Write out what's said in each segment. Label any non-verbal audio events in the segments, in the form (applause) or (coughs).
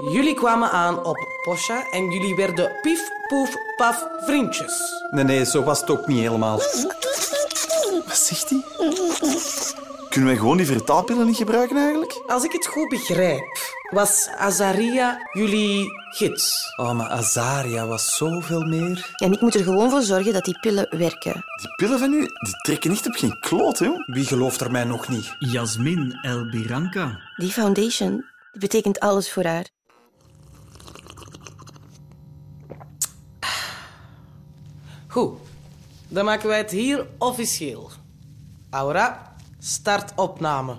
Jullie kwamen aan op Posha en jullie werden pief, poef, paf vriendjes. Nee, nee, zo was het ook niet helemaal. Wat zegt hij? Kunnen wij gewoon die vertaalpillen niet gebruiken eigenlijk? Als ik het goed begrijp, was Azaria jullie gids. Oh, maar Azaria was zoveel meer. En ik moet er gewoon voor zorgen dat die pillen werken. Die pillen van u, die trekken echt op geen kloot, joh. Wie gelooft er mij nog niet? Jasmin El Biranka. Die foundation die betekent alles voor haar. Goed, dan maken wij het hier officieel. Aura, start opname.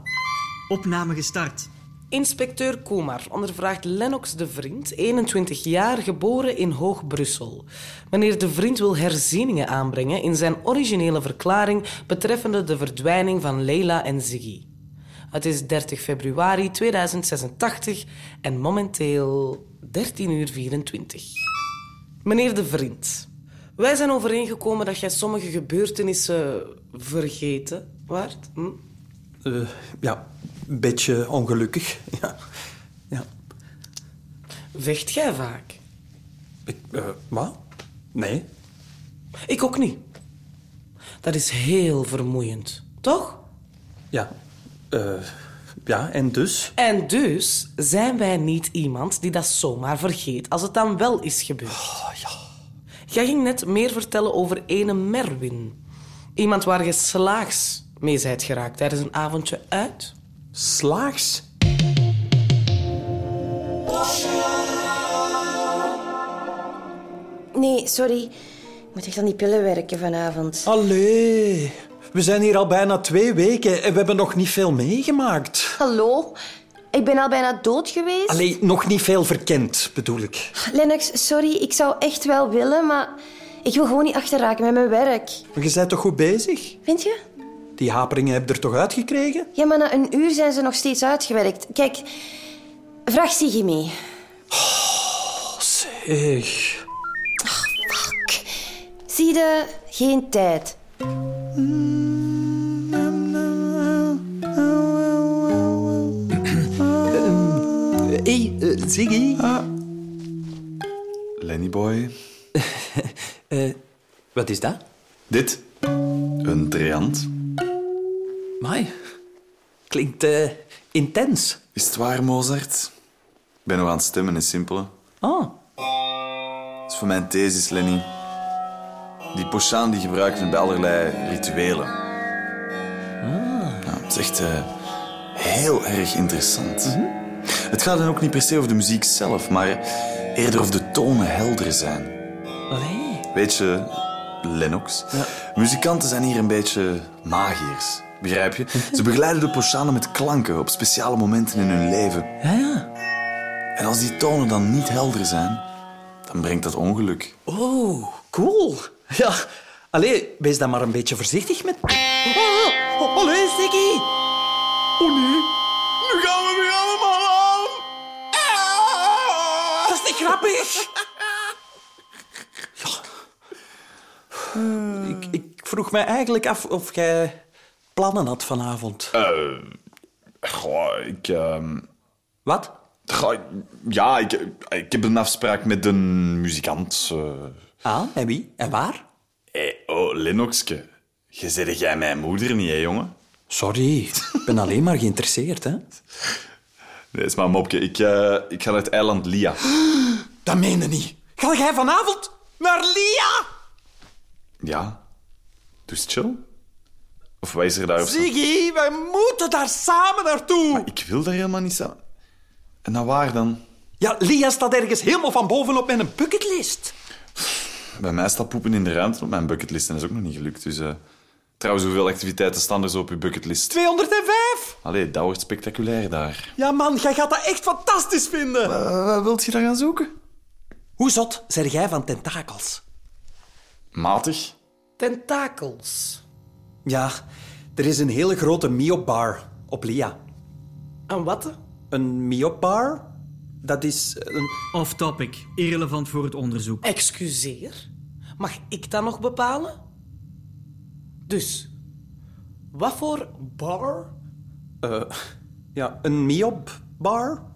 Opname gestart. Inspecteur Kumar ondervraagt Lennox de Vriend, 21 jaar, geboren in Hoog-Brussel. Meneer de Vriend wil herzieningen aanbrengen in zijn originele verklaring betreffende de verdwijning van Leila en Ziggy. Het is 30 februari 2086 en momenteel 13 uur 24. Meneer de Vriend, wij zijn overeengekomen dat jij sommige gebeurtenissen vergeten waart. Hm? Eh, ja, een beetje ongelukkig. Ja. ja. Vecht jij vaak? Ik, eh, wat? Nee. Ik ook niet. Dat is heel vermoeiend, toch? Ja. Eh, ja, en dus? En dus zijn wij niet iemand die dat zomaar vergeet als het dan wel is gebeurd. Jij ging net meer vertellen over ene Merwin. Iemand waar je slaags mee zijt geraakt tijdens een avondje uit. Slaags? Nee, sorry. Ik moet echt aan die pillen werken vanavond. Allee. We zijn hier al bijna twee weken en we hebben nog niet veel meegemaakt. Hallo? Ik ben al bijna dood geweest. Allee, nog niet veel verkend, bedoel ik. Lennox, sorry. Ik zou echt wel willen, maar ik wil gewoon niet achterraken met mijn werk. Maar je bent toch goed bezig? Vind je? Die haperingen heb je er toch uitgekregen? Ja, maar na een uur zijn ze nog steeds uitgewerkt. Kijk, vraag Siggy mee. Zeg. Zie je, geen tijd. Hé, hey, eh, Ziggy. Lenny boy. Wat is dat? Dit. Een triant. Mai. Klinkt eh, intens. Is het waar, Mozart? Ik ben nog aan het stemmen, is simpel. Ah, Dat is voor mijn thesis, Lenny. Die pochaan die gebruikt men bij allerlei rituelen. Nou, het is echt eh, heel erg interessant. Het gaat dan ook niet per se over de muziek zelf, maar eerder of de tonen helder zijn. allee. Weet je, Lennox, muzikanten zijn hier een beetje magiërs. Begrijp (laughs) je? Ze begeleiden de Poshanen met klanken op speciale momenten in hun leven. Ja, ja. En als die tonen dan niet helder zijn, dan brengt dat ongeluk. Oh, cool. Ja. Allee, wees dan maar een beetje voorzichtig met... Ah, oh, allee, Ziggy. Oh, nee. Nu gaan we weer allemaal aan! Ah, Dat is niet grappig. ja. Ik, ik vroeg mij eigenlijk af of jij plannen had vanavond. Eh. Goh, ik... ehm, Wat? goh, ja, ik, ik heb een afspraak met een muzikant. eh. Aan Ah, en wie en waar? Hé, oh, Lennoxke. Je zegt jij mijn moeder niet, hè, jongen? Sorry, ik ben alleen maar geïnteresseerd. Hè? Nee, is maar een mopje. Ik, eh, ik ga naar het eiland Lia. Dat meende niet. Ga jij vanavond naar Lia? Ja. Dus chill. Of wij is er daar op staan? Ziggy, wij moeten daar samen naartoe. Ik wil daar helemaal niet staan. En naar waar dan? Ja, Lia staat ergens helemaal van boven op mijn bucketlist. Bij mij staat poepen in de ruimte op mijn bucketlist en dat is ook nog niet gelukt. Dus, eh, trouwens, hoeveel activiteiten staan er zo op je bucketlist? 205. Allee, dat wordt spectaculair daar. Ja man, jij gaat dat echt fantastisch vinden. Eh, wat wilt je daar gaan zoeken? Hoe zot zeg jij van tentakels? Matig. Tentakels. Ja, er is een hele grote miobar op Lia. En wat? Een miobar? Dat is een... Off topic. Irrelevant voor het onderzoek. Excuseer? Mag ik dat nog bepalen? Dus, wat voor bar eh, ja, een miobar?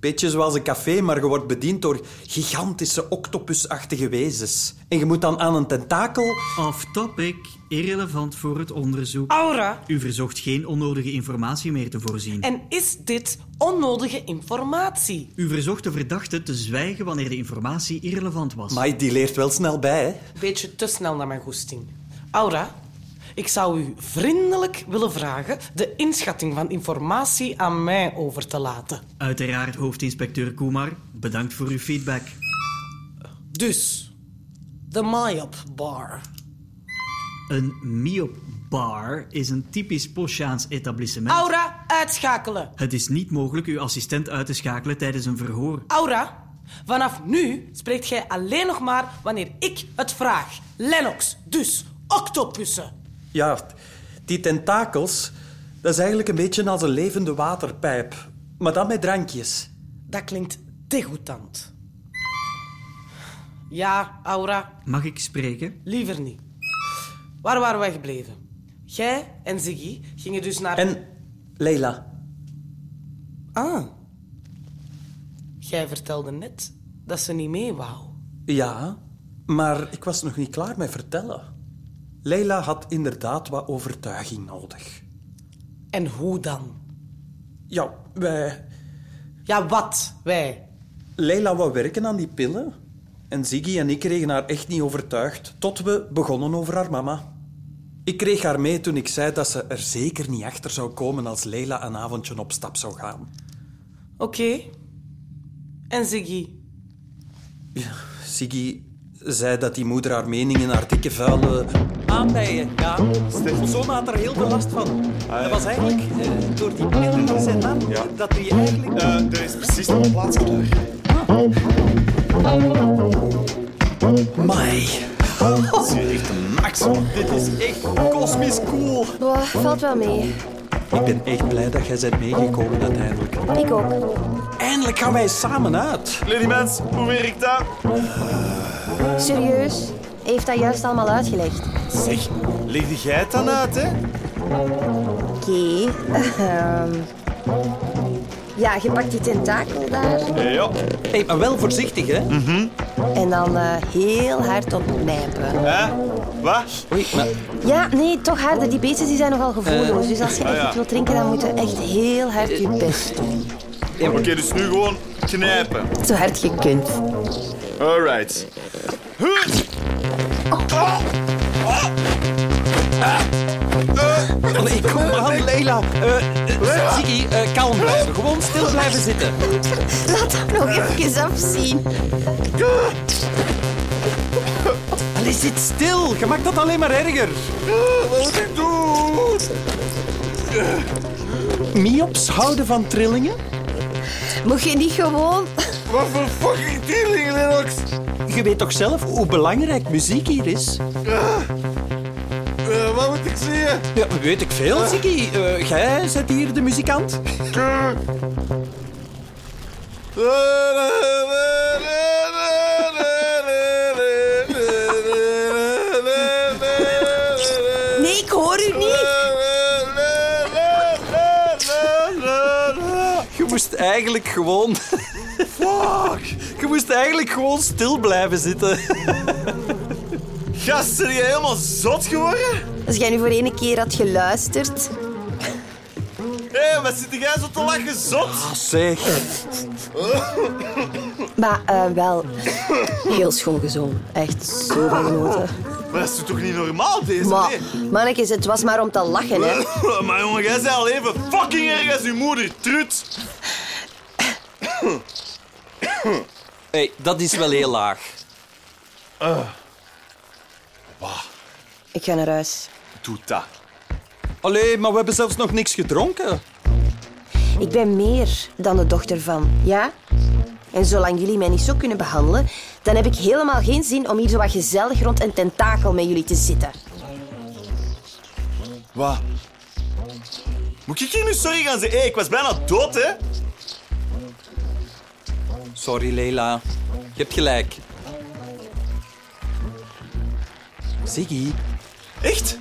Beetje zoals een café, maar je wordt bediend door gigantische octopusachtige wezens. En je moet dan aan een tentakel... Off-topic, irrelevant voor het onderzoek. Aura, U verzocht geen onnodige informatie meer te voorzien. en is dit onnodige informatie? U verzocht de verdachte te zwijgen wanneer de informatie irrelevant was. Maar die leert wel snel bij, hè? Beetje te snel naar mijn goesting. Aura, ik zou u vriendelijk willen vragen de inschatting van informatie aan mij over te laten. Uiteraard, hoofdinspecteur Kumar, bedankt voor uw feedback. Dus, de Mayop Bar. Een Miop Bar is een typisch Poschaans etablissement. Aura, uitschakelen. Het is niet mogelijk uw assistent uit te schakelen tijdens een verhoor. Aura, vanaf nu spreekt jij alleen nog maar wanneer ik het vraag. Lennox, dus octopussen. Ja, die tentakels, dat is eigenlijk een beetje als een levende waterpijp. Maar dan met drankjes. Dat klinkt degoutant. Ja, Aura, Mag ik spreken? Liever niet. Waar waren wij gebleven? Jij en Ziggy gingen dus naar... En Leila, Ah. Jij vertelde net dat ze niet mee wou. Ja, maar ik was nog niet klaar met vertellen. Leila had inderdaad wat overtuiging nodig. En hoe dan? Ja, wij... Ja, wat? Wij. Leila wou werken aan die pillen. En Ziggy en ik kregen haar echt niet overtuigd, tot we begonnen over haar mama. Ik kreeg haar mee toen ik zei dat ze er zeker niet achter zou komen als Leila een avondje op stap zou gaan. Oké. En Ziggy? Ziggy zei dat die moeder haar mening in haar dikke vuile... Aanbijen, ja. Ons zoon had er heel veel last van. Dat was eigenlijk eh, door die pillen in zijn naam dat hij eigenlijk... Eh, er is precies nog een plaats klaar. Mai, Dat is hier echt een max, man. dit is echt kosmisch cool. Boah, valt wel mee. Ik ben echt blij dat jij bent meegekomen uiteindelijk. Ik ook. Eindelijk gaan wij samen uit. Lady Mens, hoe werkt dat? Serieus? Hij heeft dat juist allemaal uitgelegd. Zeg, leg jij het dan uit, hè? Oké. ehm. ja, je pakt die tentakel daar Ja. Hey, maar wel voorzichtig, hè. en dan eh, heel hard opnijpen. Hè? Wat? Oei, maar Ja, nee, toch harder. Die beesten die zijn nogal gevoelloos. Dus als je echt Eh. Ah, ja. iets wilt drinken, dan moet je echt heel hard je best doen. Oké, dus nu gewoon knijpen. Zo hard je kunt. Alright. Huh. nee, kom aan, Leila. Eh Ziggy, eh, kalm blijven. Gewoon stil blijven zitten. Laat dat nog even afzien. Allee, zit stil. Je maakt dat alleen maar erger. Wat moet ik doen? Miops houden van trillingen? Mocht je niet gewoon... Wat voor fucking dealing, Lennox? Je weet toch zelf hoe belangrijk muziek hier is? Eh, wat moet ik zeggen? Ja, weet ik veel, Ziggy. Eh, jij zet hier de muzikant. Nee, ik hoor u niet. Je moest eigenlijk gewoon... Fuck! Je moest eigenlijk gewoon stil blijven zitten. Gast, ben je helemaal zot geworden? Als jij nu voor één keer had geluisterd... Hé, wat zit jij zo te lachen, zot? Zeg. Maar eh, wel heel schoon gezongen. Echt zo van genoten. Maar dat is toch niet normaal, deze? Maar, Nee. mannetjes, het was maar om te lachen, hè. (coughs) maar jongen, jij bent al even fucking erg als uw moeder, trut. hey, dat is wel heel laag. Ik ga naar huis. Doe dat. Allee, maar we hebben zelfs nog niks gedronken. Ik ben meer dan de dochter van, ja? En zolang jullie mij niet zo kunnen behandelen, dan heb ik helemaal geen zin om hier zo wat gezellig rond een tentakel met jullie te zitten. Wat? Moet ik hier nu sorry gaan zeggen? Hé, ik was bijna dood, hè? Sorry, Leila. Je hebt gelijk. Ziggy. Echt?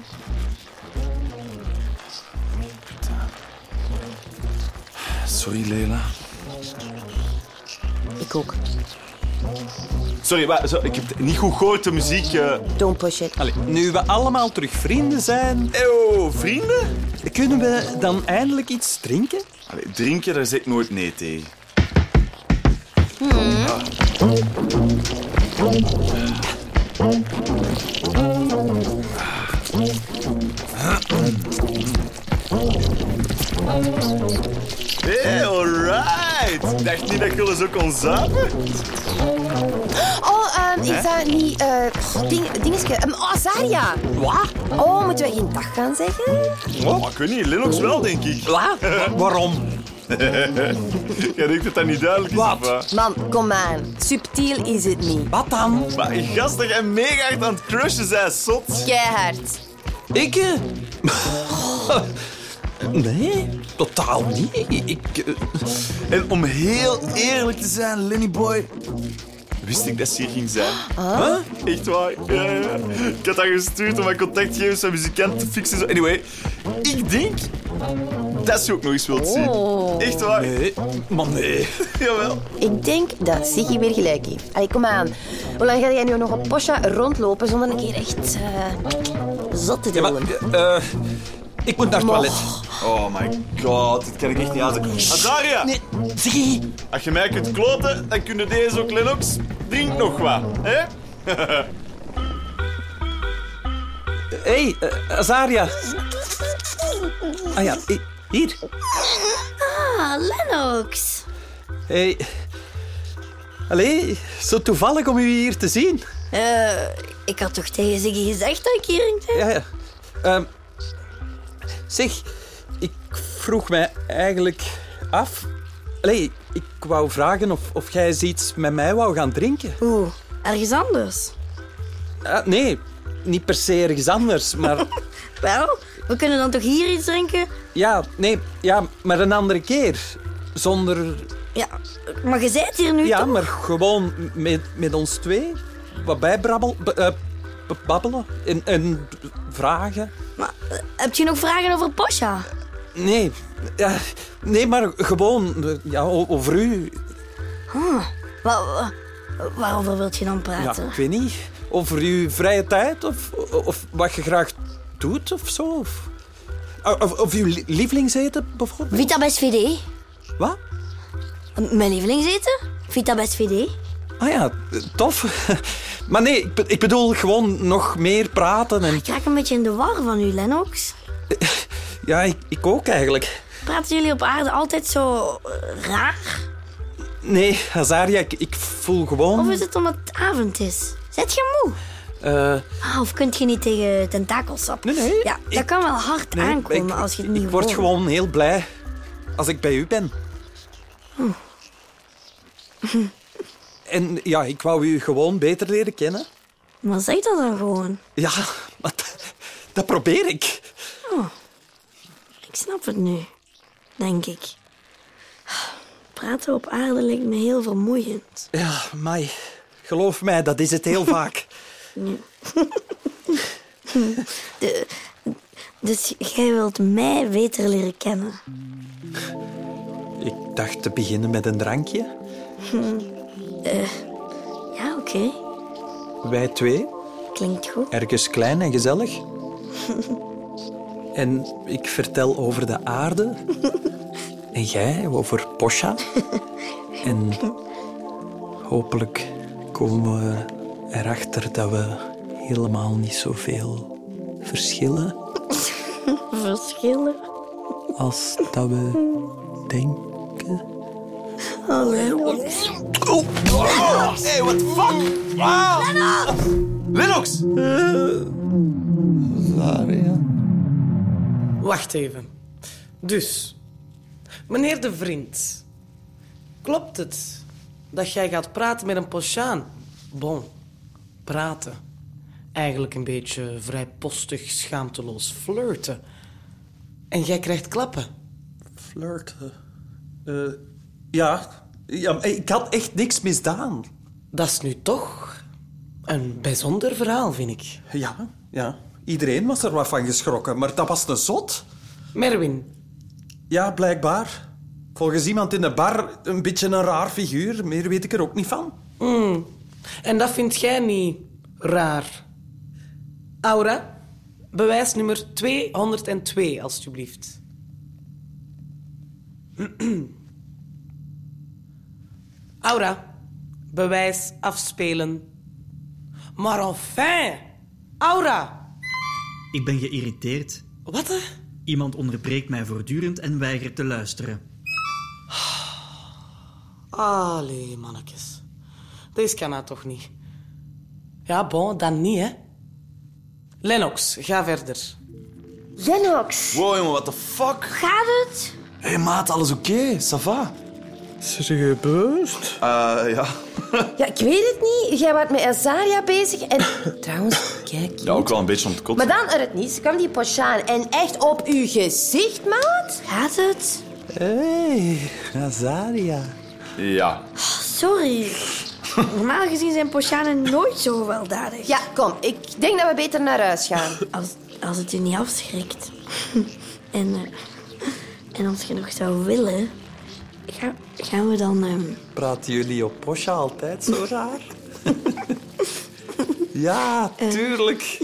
Sorry, Leila. Ik ook. Sorry, maar, zo, ik heb het niet goed gehoord, de muziek. eh. Don't push it. Allee, nu we allemaal terug vrienden zijn, Oh, Eeuw, vrienden? kunnen we dan eindelijk iets drinken? Allee, drinken, daar zeg ik nooit nee tegen. Ah. Hey, alright. Ik Dacht niet dat jullie zo kon zuipen. Oh, ehm, is dat niet... eh, goh, ding, dingetje... ehm, oh, Zaria. Wat? Oh, moeten we geen dag gaan zeggen? Maar ik weet niet, Linux wel, denk ik. Wat? Waarom? (laughs) Jij denkt dat dat niet duidelijk is, Wat? of wat? Man, kom aan. Subtiel is het niet. Wat dan? Maar Oh. gast, dat jij mega hard aan het crushen bent, zot. Keihard. Ik? eh, (laughs) nee, totaal niet. Ik, eh, En om heel eerlijk te zijn, Lenny Boy, wist ik dat ze hier ging zijn. Echt waar. Ja, ja. Ik had haar gestuurd om mijn contactgegevens van muzikant te fixen. Zo. Anyway, ik denk dat ze ook nog eens wilt zien. Oh. Echt waar. nee, maar nee. Jawel. Ik denk dat Ziggy weer gelijk heeft. Allee, kom aan. Hoe lang ga jij nu nog op Posha rondlopen zonder een keer echt eh, zot te Ja, maar, doen? eh, eh, ik moet naar het toilet. Oh my god, dit kan ik echt niet aanzien. Azaria, Nee, zie. als je mij kunt kloten, dan kunnen deze ook Lennox. Drink nog wat, hè? Hé, hey, eh, Azaria. Ah ja, i- hier. Ah, Lennox. Hé. Hey. Allee, zo toevallig om u hier te zien. Eh, ik had toch tegen Ziggy gezegd dat ik hier ging zijn? Ja, ja. Ehm, zeg, ik vroeg mij eigenlijk af... Allee, ik wou vragen of, of jij eens iets met mij wou gaan drinken. Oeh, ergens anders. Ah, nee, niet per se ergens anders, (laughs) maar... Wel, we kunnen dan toch hier iets drinken? ja, nee, ja, maar een andere keer. Zonder... Ja, maar je zit hier nu Ja, toch? maar gewoon met, met ons twee. Wat bijbrabbel... b- eh, b- babbelen en, en vragen. Maar, eh, heb je nog vragen over Posha? Nee, ja, nee, maar gewoon eh, ja, o- over u. Wa- wa- waarover wilt je dan Ja, praten? ik weet niet. Over uw vrije tijd of, of wat je graag doet of zo. Of, of, of uw li- lievelingseten bijvoorbeeld. Vita Best VD. Wat? Mijn lievelingseten? Vita Best VD. Ah ja, tof. (laughs) Maar nee, ik, be- ik bedoel gewoon nog meer praten. En, Ik raak een beetje in de war van u, Lennox. ja, ik, ik ook eigenlijk. Praten jullie op aarde altijd zo eh, raar? Nee, Azaria, ik, ik voel gewoon... Of is het omdat het avond is? Zet je moe? eh, Ah, of kunt je niet tegen tentakelsap? Nee, nee, Ja, dat ik- kan wel hard nee, aankomen ik- als je het ik niet word hoort. gewoon heel blij als ik bij u ben. En ja, ik wou u gewoon beter leren kennen. Maar zeg dat dan gewoon. Ja, maar dat, dat probeer ik. Ik snap het nu. Denk ik. Praten op aarde lijkt me heel vermoeiend. Ja, Mai, geloof mij, dat is het (laughs) heel vaak. Dus jij wilt mij beter leren kennen. Ik dacht te beginnen met een drankje. Ja, oké. Wij twee, Klinkt goed. ergens klein en gezellig. En ik vertel over de aarde. En jij over Posha. En hopelijk komen we erachter dat we helemaal niet zoveel verschillen Verschillen. als dat we denken. Oh. Hey, what the fuck? Wow. Lennox! Wacht even. Dus, meneer de vriend, klopt het dat jij gaat praten met een Poshaan? Bon, praten. Eigenlijk een beetje vrijpostig, schaamteloos flirten. En jij krijgt klappen. Flirten. Eh, ja. ja, maar ik had echt niks misdaan. Dat is nu toch een bijzonder verhaal, vind ik. Ja, ja. Iedereen was er wat van geschrokken, maar dat was een zot. Merwin, Ja, blijkbaar. Volgens iemand in de bar een beetje een raar figuur. Meer weet ik er ook niet van. En dat vind jij niet raar. Aura, bewijs nummer 202, alstublieft. (clears throat) Aura, bewijs afspelen. Maar enfin, Aura! Ik ben geïrriteerd. Wat? hè? Iemand onderbreekt mij voortdurend en weigert te luisteren. Allee, mannetjes. Deze kan haar toch niet? Ja, bon, dan niet, hè. Lennox, ga verder. Lennox. Wow, jongen, what the fuck? Gaat het? Hé, hey, maat, alles oké? Ça va? Is er gebeurd? Eh, ja. Ja, ik weet het niet. Jij was met Azaria bezig en... (laughs) Trouwens, kijk. Ja, ook wel een beetje om te Maar kotsen. dan uit het niets kwam die Pochaan en echt op uw gezicht, maat. Gaat het? Hé, hey, Nazaria. Ja. Sorry. Normaal gezien zijn Pochanen nooit zo gewelddadig. Ja, kom. Ik denk dat we beter naar huis gaan. Als, als het u niet afschrikt. (laughs) en, eh, en als je nog zou willen, ga- gaan we dan. ehm, Praten jullie op Posha altijd zo raar? (laughs) ja, tuurlijk.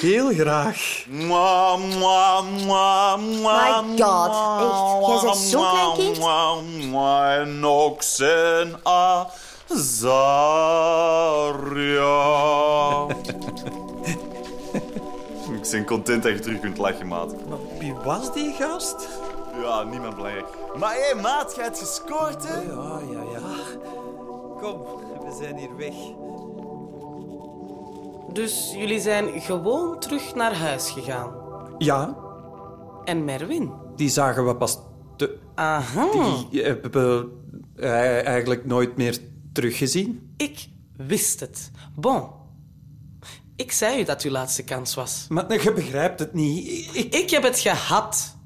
Heel graag. Mwa, mwa, mwa, mwa, My God, echt. Jij bent zo'n klein kind. mwa, mwa, en ook zijn Azaria. (laughs) Ik ben content dat je terug kunt lachen, maat. Maar wie was die gast? Ja, niet meer belangrijk. Maar hé, maat, jij hebt gescoord, hè? Ja, ja, ja. Kom, we zijn hier weg. Dus jullie zijn gewoon terug naar huis gegaan. Ja, En Merwin? die zagen we pas te... Aha. Die hebben we eh, eigenlijk nooit meer teruggezien. Ik wist het. Bon. Ik zei u dat uw laatste kans was. Maar je begrijpt het niet. Ik... Ik heb het gehad.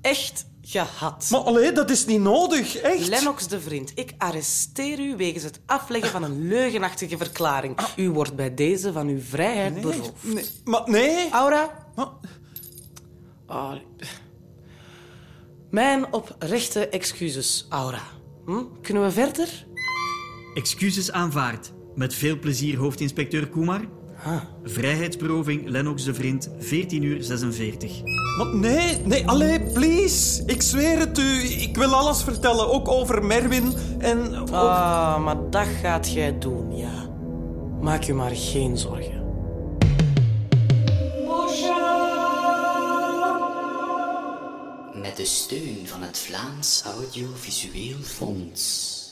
Echt gehad. Maar allee, dat is niet nodig, echt. Lennox de Vriend, ik arresteer u wegens het afleggen van een leugenachtige verklaring. U wordt bij deze van uw vrijheid beroofd. Ah. Nee, maar nee. Aura? Maar- Ah, Mijn oprechte excuses, Aura. Hm? Kunnen we verder? Excuses aanvaard. Met veel plezier, hoofdinspecteur Kumar. Vrijheidsberoving, Lennox de Vriend, 14 uur 46. Maar nee, nee, allee, please. Ik zweer het u. Ik wil alles vertellen, ook over Merwin en... ook- Ah, maar dat gaat jij doen, ja. Maak je maar geen zorgen. Met de steun van het Vlaams Audiovisueel Fonds.